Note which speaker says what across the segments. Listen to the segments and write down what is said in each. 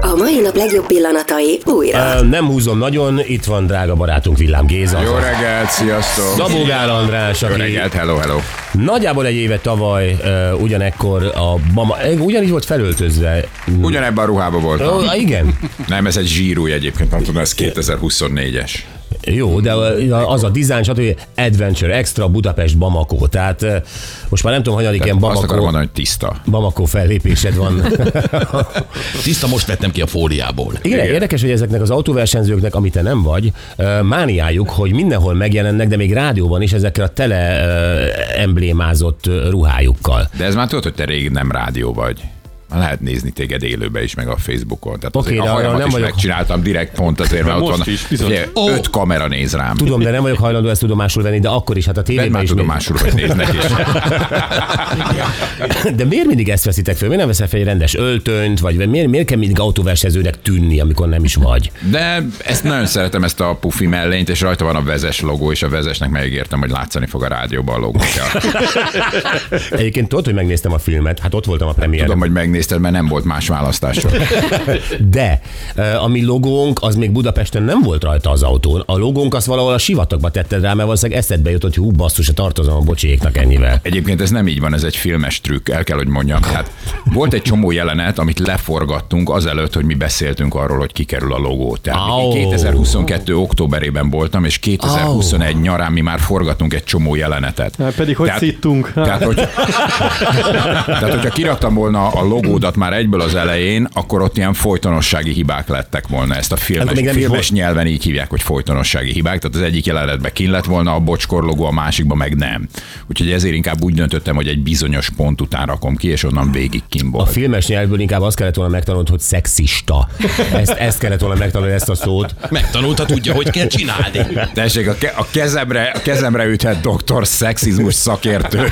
Speaker 1: A mai nap legjobb pillanatai újra.
Speaker 2: Ö, Nem húzom nagyon, itt van drága barátunk Villám Géza.
Speaker 3: Jó reggelt, sziasztok!
Speaker 2: Szabó Gál András,
Speaker 3: Jó
Speaker 2: aki
Speaker 3: reggelt, hello, hello!
Speaker 2: nagyjából egy éve tavaly ö, ugyanekkor a mama, ugyanígy volt felöltözve.
Speaker 3: Ugyanebben a ruhában voltam.
Speaker 2: Ö, igen,
Speaker 3: Nem, ez egy zsírúj egyébként, nem tudom, ez 2024-es.
Speaker 2: jó, de ö, az a dizájn, stb. Adventure Extra Budapest Bamako. Tehát ö, most már nem tudom, hanyadik ilyen
Speaker 3: Azt akarom
Speaker 2: Bamako,
Speaker 3: mondani, hogy tiszta.
Speaker 2: Bamako fellépésed van.
Speaker 4: Tiszta most vettem ki a fóliából.
Speaker 2: Igen, érdekes, hogy ezeknek az autóversenyzőknek, amit te nem vagy, ö, mániájuk, hogy mindenhol megjelennek, de még rádióban is ezekkel a tele ö, emblémázott ö, ruhájukkal.
Speaker 3: De ez már tudod, hogy te rég nem rádió vagy. Már lehet nézni téged élőbe is, meg a Facebookon. Tehát
Speaker 2: Oké,
Speaker 3: okay,
Speaker 2: de
Speaker 3: a
Speaker 2: arra
Speaker 3: hajamat
Speaker 2: nem
Speaker 3: is
Speaker 2: vagyok-
Speaker 3: megcsináltam direkt pont azért, mert ott
Speaker 5: most
Speaker 3: van
Speaker 5: is, bizony.
Speaker 3: Ugye, öt kamera néz rám.
Speaker 2: Tudom, de nem vagyok hajlandó ezt tudomásul venni, de akkor is, hát a
Speaker 3: Vedd
Speaker 2: tévében
Speaker 3: már
Speaker 2: is.
Speaker 3: tudomásul, hogy néznek is.
Speaker 2: még- De miért mindig ezt veszitek föl? Miért nem veszel fel egy rendes öltönyt, vagy miért, miért kell mindig autóversenyzőnek tűnni, amikor nem is vagy?
Speaker 3: De ezt nagyon szeretem, ezt a pufi mellényt, és rajta van a vezes logó, és a vezesnek megígértem, hogy látszani fog a rádióban a logója.
Speaker 2: Egyébként tudod, hogy megnéztem a filmet, hát ott voltam a premiéren.
Speaker 3: Tudom, hogy megnézted, mert nem volt más választásod.
Speaker 2: De ö, a mi logónk, az még Budapesten nem volt rajta az autón. A logónk azt valahol a sivatagba tetted rá, mert valószínűleg eszedbe jutott, hogy hú, basszus, hát tartozom a bocsiéknak ennyivel.
Speaker 3: Egyébként ez nem így van, ez egy filmes trükk, el kell, hogy mondjam. Tehát volt egy csomó jelenet, amit leforgattunk azelőtt, hogy mi beszéltünk arról, hogy kikerül a logó. Tehát
Speaker 2: Au.
Speaker 3: oh. 2022. októberében voltam, és 2021 oh. nyarán mi már forgatunk egy csomó jelenetet.
Speaker 5: Hát pedig hogy szittunk? Hát.
Speaker 3: Tehát, hogy, tehát, hogyha kiraktam volna a logódat már egyből az elején, akkor ott ilyen folytonossági hibák lettek volna. Ezt a
Speaker 2: Akkor
Speaker 3: filmes,
Speaker 2: Hát még nem is
Speaker 3: filmes nyelven így hívják, hogy folytonossági hibák. Tehát az egyik jelenetben kin lett volna a bocskor logó, a másikban meg nem. Úgyhogy ezért inkább úgy döntöttem, hogy egy bizonyos pont után rakom ki, és onnan végig kin
Speaker 2: A
Speaker 3: volt.
Speaker 2: filmes nyelvből inkább azt kellett volna megtanulnod, hogy szexista. Ezt, ezt kellett volna megtanulni, ezt a szót.
Speaker 4: Megtanulta, tudja, hogy kell csinálni.
Speaker 3: Tessék, a, ke- a, kezemre, a kezemre üthet doktor szexizmus szakértő.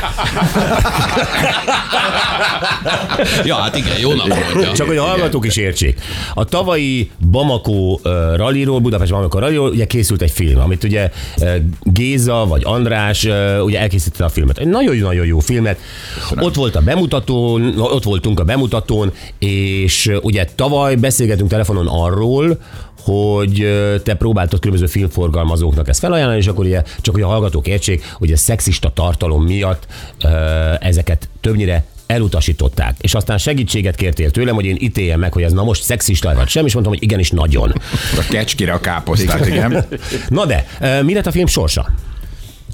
Speaker 4: Ja, hát igen, jó nap mondja.
Speaker 2: Csak hogy a hallgatók is értsék. A tavalyi Bamako ö, ralliról, Budapest Bamako ralliról ugye készült egy film, amit ugye ö, Géza vagy András ö, ugye elkészítette a filmet. Egy nagyon-nagyon jó filmet. Ott volt a bemutatón, ott voltunk a bemutatón, és ö, ugye tavaly beszélgetünk telefonon arról, hogy ö, te próbáltad különböző filmforgalmazóknak ezt felajánlani, és akkor ugye csak hogy a hallgatók értsék, hogy a szexista tartalom miatt ö, ezeket többnyire elutasították, és aztán segítséget kértél tőlem, hogy én ítéljem meg, hogy ez na most szexista vagy sem, és mondtam, hogy igenis nagyon.
Speaker 3: A kecskire a káposztát, igen.
Speaker 2: Na de, ö, mi lett a film sorsa?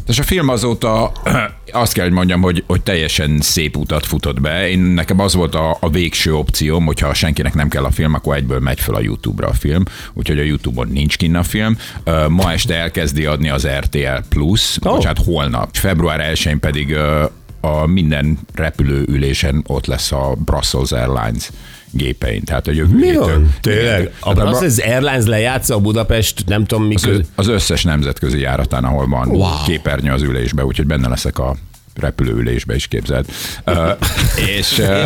Speaker 3: És a film azóta azt kell, hogy mondjam, hogy, hogy teljesen szép utat futott be. Én, nekem az volt a, a végső opcióm, hogyha senkinek nem kell a film, akkor egyből megy fel a YouTube-ra a film, úgyhogy a YouTube-on nincs kinn a film. Ö, Ma este elkezdi adni az RTL Plus,
Speaker 2: Ó.
Speaker 3: oh. bocsánat, holnap. Február 1-én pedig ö, a minden repülőülésen ott lesz a Brussels Airlines gépein. Tehát a jövő
Speaker 2: Mi
Speaker 3: héttől-
Speaker 2: van? Tényleg?
Speaker 3: Igen.
Speaker 2: A
Speaker 3: Hát
Speaker 2: Brussels Airlines lejátsza a Budapest, nem tudom mikor.
Speaker 3: az, az összes nemzetközi járatán, ahol van wow. képernyő az ülésbe, úgyhogy benne leszek a repülőülésbe is képzeld. Ö, és ö,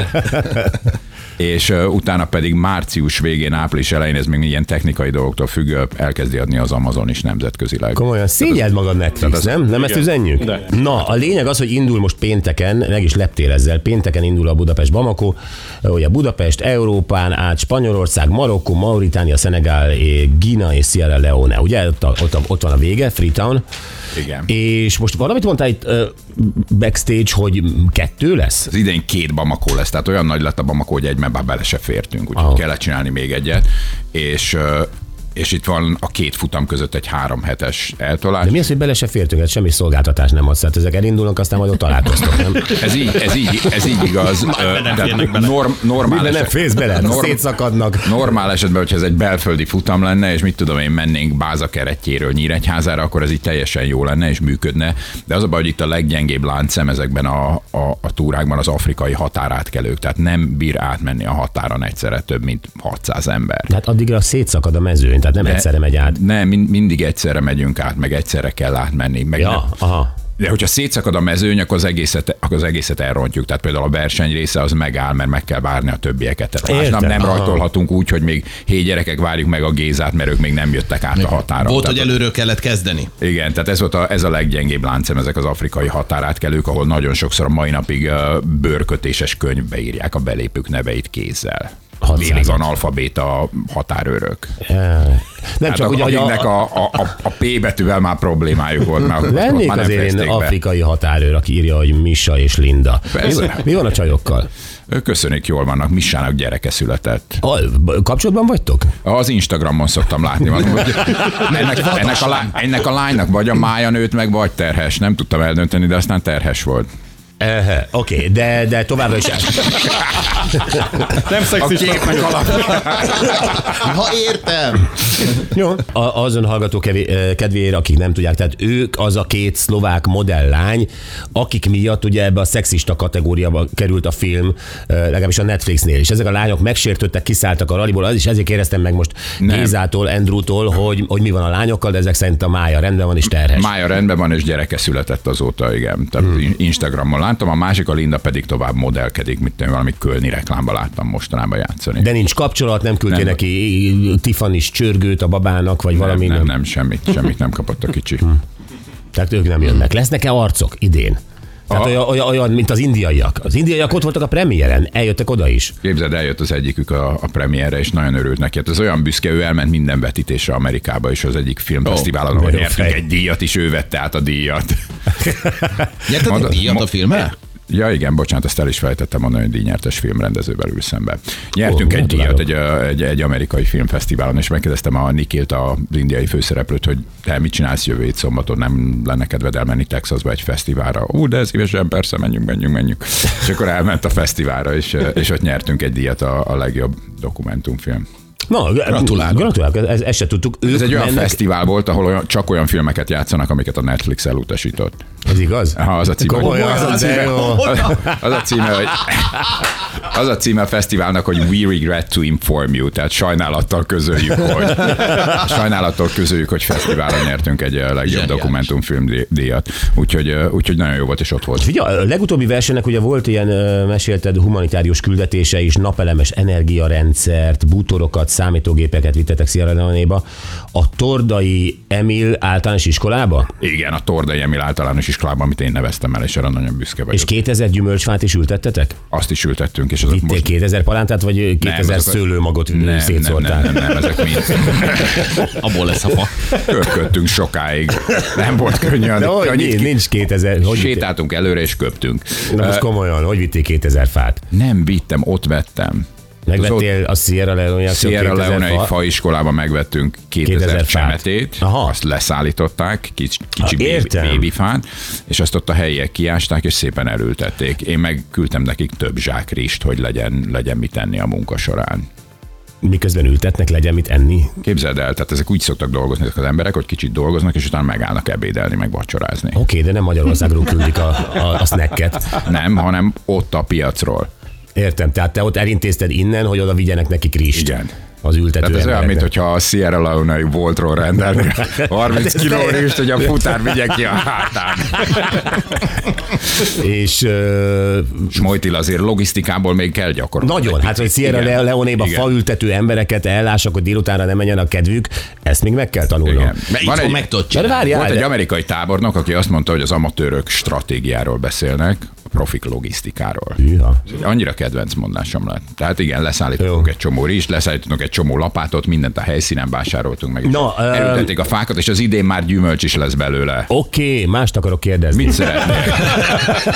Speaker 3: és ö, utána pedig március végén, április elején, ez még ilyen technikai dolgoktól függ, ö, elkezdi adni az Amazon is nemzetközileg.
Speaker 2: Komolyan, szégyeld magad Netflix,
Speaker 3: az-
Speaker 2: nem? Nem ezt üzenjük?
Speaker 5: De.
Speaker 2: Na, a lényeg az, hogy indul most pénteken, meg is leptél ezzel, pénteken indul a Budapest Bamako, ugye Budapest, Európán át Spanyolország, Marokkó, Mauritánia, Szenegál, eh, Gina és Sierra Leone, ugye? Ott, a, ott, a, ott van a vége, Freetown.
Speaker 3: Igen.
Speaker 2: És most valamit mondtál itt ö, backstage, hogy kettő lesz?
Speaker 3: Az idén két Bamako lesz, tehát olyan nagy lett a Bamako, hogy egyben már bele se fértünk, úgyhogy
Speaker 2: Aha.
Speaker 3: kellett csinálni még egyet. És ö, és itt van a két futam között egy három hetes eltolás.
Speaker 2: De mi az, hogy bele se fértünk, ez semmi szolgáltatás nem az, tehát ezek elindulnak, aztán majd ott találkoztok, nem?
Speaker 3: Ez így, ez így, ez így igaz. Ö, Tehát norm, normál,
Speaker 2: De nem
Speaker 3: eset,
Speaker 2: félsz bele,
Speaker 3: Norm-
Speaker 2: szétszakadnak.
Speaker 3: normál esetben, hogyha ez egy belföldi futam lenne, és mit tudom én, mennénk Báza keretjéről Nyíregyházára, akkor ez így teljesen jó lenne, és működne. De az a baj, hogy itt a leggyengébb láncem ezekben a, a, a túrákban az afrikai határátkelők, tehát nem bír átmenni a határon egyszerre több, mint 600 ember.
Speaker 2: De hát addigra szétszakad a mezőny, tehát nem egyszerre megy át.
Speaker 3: Nem, min- mindig egyszerre megyünk át, meg egyszerre kell átmenni. Meg nem,
Speaker 2: Ja, aha.
Speaker 3: de hogyha szétszakad a mezőny, akkor az egészet, akkor az egészet elrontjuk. Tehát például a verseny része az megáll, mert meg kell várni a többieket. Tehát más
Speaker 2: Értem,
Speaker 3: nem, nem
Speaker 2: aha.
Speaker 3: rajtolhatunk úgy, hogy még hét gyerekek várjuk meg a Gézát, mert ők még nem jöttek át a határa.
Speaker 4: Volt, hogy
Speaker 3: tehát,
Speaker 4: előről kellett kezdeni.
Speaker 3: Igen, tehát ez, volt a, ez a leggyengébb láncem, ezek az afrikai határátkelők, ahol nagyon sokszor a mai napig ö, bőrkötéses könyvbe írják a belépők neveit kézzel. Végig analfabéta határőrök.
Speaker 2: Nem
Speaker 3: Hát
Speaker 2: csak ugye, hogy
Speaker 3: akiknek
Speaker 2: a,
Speaker 3: a, a, a, a P betűvel már problémájuk volt, mert ott- ott
Speaker 2: Lennék
Speaker 3: már nem
Speaker 2: azért én
Speaker 3: fejezték be.
Speaker 2: afrikai határőr, aki írja, hogy Misa és Linda. Mi,
Speaker 3: Persze.
Speaker 2: mi van a csajokkal?
Speaker 3: Ők Köszönjük, jól vannak, Missának gyereke született.
Speaker 2: A, b- kapcsolatban vagytok?
Speaker 3: Az Instagramon szoktam látni van, hogy ennek, ennek, a, lá- ennek a lánynak vagy a mája nőtt meg, vagy terhes. Nem tudtam eldönteni, de aztán terhes volt.
Speaker 2: Ehe, Oké, okay, de, de továbbra is...
Speaker 5: Nem
Speaker 3: A
Speaker 5: szexista.
Speaker 3: képnek alapján.
Speaker 4: Ha értem.
Speaker 2: Jó. A, azon hallgató kevé, ö, kedvéért, akik nem tudják, tehát ők az a két szlovák modellány, akik miatt ugye ebbe a szexista kategóriába került a film, ö, legalábbis a Netflixnél is. Ezek a lányok megsértődtek, kiszálltak a raliból, az is ezért kérdeztem meg most
Speaker 3: Nem.
Speaker 2: Gézától, Endrútól, hogy, hogy mi van a lányokkal, de ezek szerint a mája rendben van és terhes.
Speaker 3: Mája rendben van, és gyereke született azóta, igen. Tehát
Speaker 2: Hmm.
Speaker 3: in- Instagramon láttam, a másik, a Linda pedig tovább modellkedik, mint én valami kölni reklámba láttam mostanában játszani.
Speaker 2: De nincs kapcsolat, nem küldtél
Speaker 3: Nem.
Speaker 2: neki tifanis csörgőt a babának, vagy
Speaker 3: nem,
Speaker 2: valami. Hmm.
Speaker 3: nem, nem, semmit, semmit nem kapott a kicsi.
Speaker 2: Tehát ők nem jönnek. Lesznek-e arcok idén? Tehát
Speaker 3: A-
Speaker 2: olyan, olyan, olyan, mint az indiaiak. Az indiaiak ott voltak a premiéren, eljöttek oda is.
Speaker 3: Képzeld, eljött az egyikük a, a premierre, és nagyon örült neki. Hát ez olyan büszke, ő elment minden vetítésre Amerikába, és az egyik filmfesztiválon, ahol
Speaker 2: de jó
Speaker 3: nyertünk
Speaker 2: fej.
Speaker 3: egy díjat, és ő vette át a díjat.
Speaker 4: Nyerted egy
Speaker 3: Mondod,
Speaker 4: díjat
Speaker 3: mo-
Speaker 4: a filmre?
Speaker 3: Ja igen, bocsánat, ezt el is felejtettem mondani, hogy díjnyertes filmrendezővel ül szembe. Nyertünk
Speaker 2: Ó,
Speaker 3: egy díjat
Speaker 2: gratulálok.
Speaker 3: egy, ö, egy, egy, amerikai filmfesztiválon, és megkérdeztem a Nikilt, az indiai főszereplőt, hogy te mit csinálsz jövő hét szombaton, nem lenne kedved elmenni Texasba egy fesztiválra. Ú, de szívesen, persze, menjünk, menjünk, menjünk. És akkor elment a fesztiválra, és, ö, és ott nyertünk egy díjat a, a legjobb dokumentumfilm.
Speaker 2: Na, gratulálok. Gratulálok, ezt, ezt se tudtuk. Ők
Speaker 3: Ez egy olyan
Speaker 2: mennek,
Speaker 3: fesztivál volt, ahol olyan, csak olyan filmeket játszanak, amiket a Netflix elutasított.
Speaker 2: Ez igaz?
Speaker 3: Ha, az a címe.
Speaker 2: Komolyan,
Speaker 3: hogy-
Speaker 2: az a
Speaker 3: címe-
Speaker 2: címe.
Speaker 3: az a címe, hogy az a címe a fesztiválnak, hogy We regret to inform you, tehát sajnálattal közöljük, hogy sajnálattal közöljük, hogy fesztiválon nyertünk egy eh, legjobb
Speaker 4: Zseniális.
Speaker 3: dokumentumfilm dí- díjat. Úgyhogy, eh, úgyhogy nagyon jó volt, és ott volt.
Speaker 2: Figyelj, a legutóbbi versenynek ugye volt ilyen, ö, mesélted, humanitárius küldetése is, napelemes energiarendszert, bútorokat, számítógépeket vittetek Sierra Leone-ba. A Tordai Emil általános iskolába?
Speaker 3: Igen, a Tordai Emil általános iskolában, amit én neveztem el, és erre nagyon büszke vagyok.
Speaker 2: És 2000 gyümölcsfát is ültettetek?
Speaker 3: Azt is ültettünk, és azok
Speaker 2: Vittél
Speaker 3: most
Speaker 2: 2000 palántát, vagy 2000
Speaker 3: azok a-
Speaker 2: szőlőmagot
Speaker 3: nem, nem,
Speaker 2: szétszórtál?
Speaker 3: nem, nem, nem, ezek mind.
Speaker 4: Abból lesz a fa.
Speaker 3: Köpködtünk sokáig. Nem volt könnyen.
Speaker 2: De hogy
Speaker 3: annyit
Speaker 2: nincs,
Speaker 3: ki-
Speaker 2: nincs 2000. Hogy vittél?
Speaker 3: Sétáltunk előre és köptünk.
Speaker 2: Na most komolyan, hogy vittél 2000 fát?
Speaker 3: Nem vittem, ott vettem.
Speaker 2: Megvettél a Sierra leone
Speaker 3: Sierra Leone faiskolába megvettünk 2000,
Speaker 2: 2000 fát.
Speaker 3: csemetét,
Speaker 2: Aha.
Speaker 3: azt leszállították, kicsi, kicsi
Speaker 2: Ha, értem.
Speaker 3: baby, babyfát, és azt ott a helyiek kiásták, és szépen elültették. Én meg küldtem nekik több zsák rist, hogy legyen, legyen mit enni a munka során.
Speaker 2: miközben ültetnek, legyen mit enni.
Speaker 3: Képzeld el, tehát ezek úgy szoktak dolgozni ezek az emberek, hogy kicsit dolgoznak, és utána megállnak ebédelni, meg vacsorázni.
Speaker 2: Oké, de nem Magyarországról küldik a, a, a snacket.
Speaker 3: Nem, hanem ott a piacról.
Speaker 2: Értem, tehát te ott elintézted innen, hogy oda vigyenek neki rist.
Speaker 3: Igen.
Speaker 2: Az ültető
Speaker 3: Tehát ez olyan,
Speaker 2: embereknek.
Speaker 3: mintha a Sierra Leone-i voltról rendelni 30
Speaker 2: ez
Speaker 3: kiló
Speaker 2: teljesen-
Speaker 3: rist, hogy a futár vigye ki a hátán.
Speaker 2: És ö,
Speaker 3: Smojtil azért logisztikából még kell gyakorolni.
Speaker 2: nagyon, hát hogy Sierra
Speaker 3: Igen.
Speaker 2: Leone-ba
Speaker 3: Igen.
Speaker 2: faültető embereket ellássák, hogy délutánra ne menjen a kedvük, ezt még meg kell tanulnom.
Speaker 3: Igen.
Speaker 2: Igen.
Speaker 4: Mert
Speaker 3: Van
Speaker 4: itthon
Speaker 3: egy-
Speaker 4: meg tudod
Speaker 2: De
Speaker 4: csinálni.
Speaker 2: várjál,
Speaker 3: Volt egy
Speaker 2: de-
Speaker 3: amerikai tábornok, aki azt mondta, hogy az amatőrök stratégiáról beszélnek, a profik logisztikáról.
Speaker 2: Hűha.
Speaker 3: Ez egy Annyira kedvenc mondásom lett. Tehát igen, leszállítottunk
Speaker 2: Jó.
Speaker 3: egy csomó rist, leszállítottunk egy csomó lapátot, mindent a helyszínen vásároltunk meg. és
Speaker 2: Na, öm,
Speaker 3: Elültették a fákat, és az idén már gyümölcs is lesz belőle.
Speaker 2: Oké, mást akarok kérdezni.
Speaker 3: Mit szeretnél?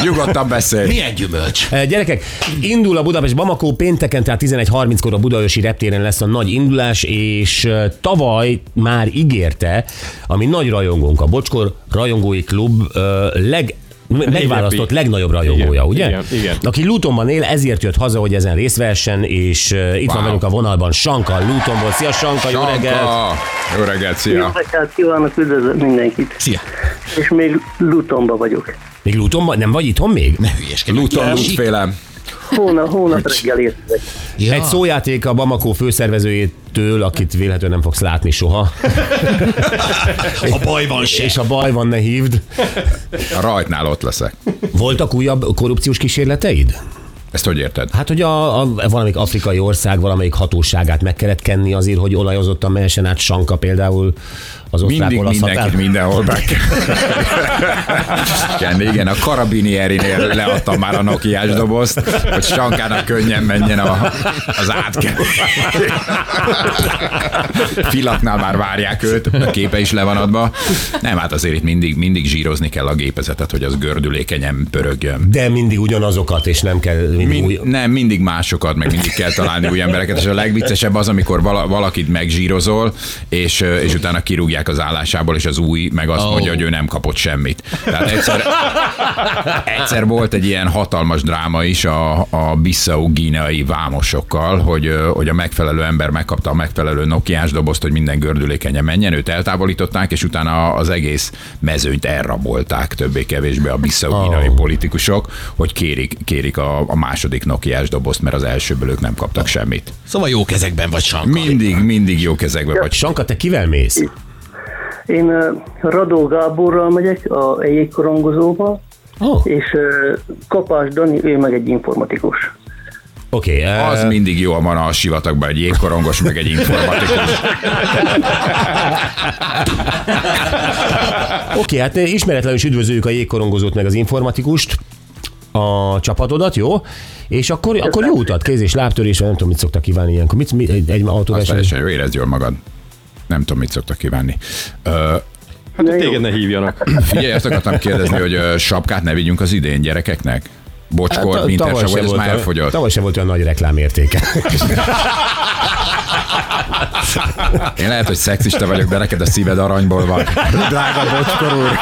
Speaker 3: Nyugodtan beszélj.
Speaker 4: Milyen gyümölcs?
Speaker 2: E, Gyerekek, indul a Budapest Bamako pénteken, tehát 11.30-kor a Budaörsi reptéren lesz a nagy indulás, és e, tavaly már ígérte, ami nagy rajongónk, a Bocskor Rajongói Klub e, leg m- megválasztott legnagyobb rajongója,
Speaker 5: Igen,
Speaker 2: ugye?
Speaker 5: igen, igen.
Speaker 2: Aki Lutonban él, ezért jött haza, hogy ezen részt vessen, és e, itt van
Speaker 3: Wow.
Speaker 2: velünk a vonalban Sanka Lutonból. Szia Sanka, jó reggelt!
Speaker 3: Sanka! Jó reggelt,
Speaker 6: Jó
Speaker 3: szia!
Speaker 6: reggelt kívánok, üdvözlök mindenkit.
Speaker 4: Szia.
Speaker 6: És még Lutonba vagyok.
Speaker 2: Még Lutonban? Nem vagy itthon még?
Speaker 4: Ne hülyeskedj.
Speaker 3: Luton, Lutfélem.
Speaker 6: Hónap, hónap reggel érkezek.
Speaker 4: Ja.
Speaker 2: Egy szójáték a Bamako főszervezőjétől, akit véletlenül nem fogsz látni soha,
Speaker 4: A bajban se.
Speaker 2: és a baj van, ne hívd.
Speaker 3: A rajtnál ott leszek.
Speaker 2: Voltak újabb korrupciós kísérleteid?
Speaker 3: Ezt hogy érted?
Speaker 2: Hát, hogy a, a, valamelyik afrikai ország valamelyik hatóságát meg kellett kenni azért, hogy olajozottan mehessen át Sanka például az
Speaker 3: Mindig
Speaker 2: osztrák-olasz határ.
Speaker 3: mindenkit mindenhol meg kell. igen, a karabinierinél leadtam már a nokiás dobozt, hogy Sankának könnyen menjen a, az átkelő. Filaknál már várják őt, a képe is le van adva. Nem, hát azért itt mindig, mindig zsírozni kell a gépezetet, hogy az gördülékenyen pörögjön.
Speaker 2: De mindig ugyanazokat, és nem kell mindig Mind... új...
Speaker 3: Min- nem, mindig másokat, meg mindig kell találni új embereket, és a legviccesebb az, amikor vala, valakit megzsírozol, és, ö, és utána kirúgják az állásából, és az új meg azt oh. mondja, hogy ő nem kapott semmit. Tehát egyszer, egyszer volt egy ilyen hatalmas dráma is a, a bissau gínai vámosokkal, hogy, ö, hogy a megfelelő ember megkapta a megfelelő nokiás dobozt, hogy minden gördülékenyen menjen, őt eltávolították, és utána az egész mezőnyt elrabolták többé-kevésbé a bissau gínai politikusok, hogy kérik, kérik a, a második nokiás dobozt, mert az elsőből ők nem kaptak semmit.
Speaker 4: Szóval jó kezekben vagy, Sanka.
Speaker 3: Mindig, mindig jó kezekbe vagy.
Speaker 2: Sanka, te kivel mész?
Speaker 6: Én ö, Radó Gáborral megyek a jégkorongozóba,
Speaker 2: Oh.
Speaker 6: és ö, Kapás Dani, ő meg egy informatikus.
Speaker 2: Oké, eh, okay,
Speaker 3: Az mindig jó van a sivatagban, egy jégkorongos, meg egy informatikus.
Speaker 2: Oké, hát ismeretlenül is üdvözöljük a jégkorongozót meg az informatikust, a csapatodat, jó? És akkor, akkor jó utat, kéz és lábtörés, nem tudom, mit szoktak kívánni ilyenkor. Mit, mi, egy, egy
Speaker 3: Az
Speaker 2: autóverseny?
Speaker 3: teljesen jó, érezd jól magad. Nem tudom, mit szoktak kívánni. Ö,
Speaker 6: Hát
Speaker 5: Téged ne hívjanak.
Speaker 3: Figyelj, azt akartam kérdezni, hogy ö, sapkát ne vigyünk az idén gyerekeknek? Bocskor, hát,
Speaker 2: tavaly
Speaker 3: mintersab,
Speaker 2: se
Speaker 3: vagy ez
Speaker 2: volt
Speaker 3: már
Speaker 2: olyan-
Speaker 3: elfogyott.
Speaker 2: Tavaly sem volt olyan nagy reklámértéke.
Speaker 3: Én lehet, hogy szexista vagyok, de neked a szíved aranyból van. Drága bocskor úr.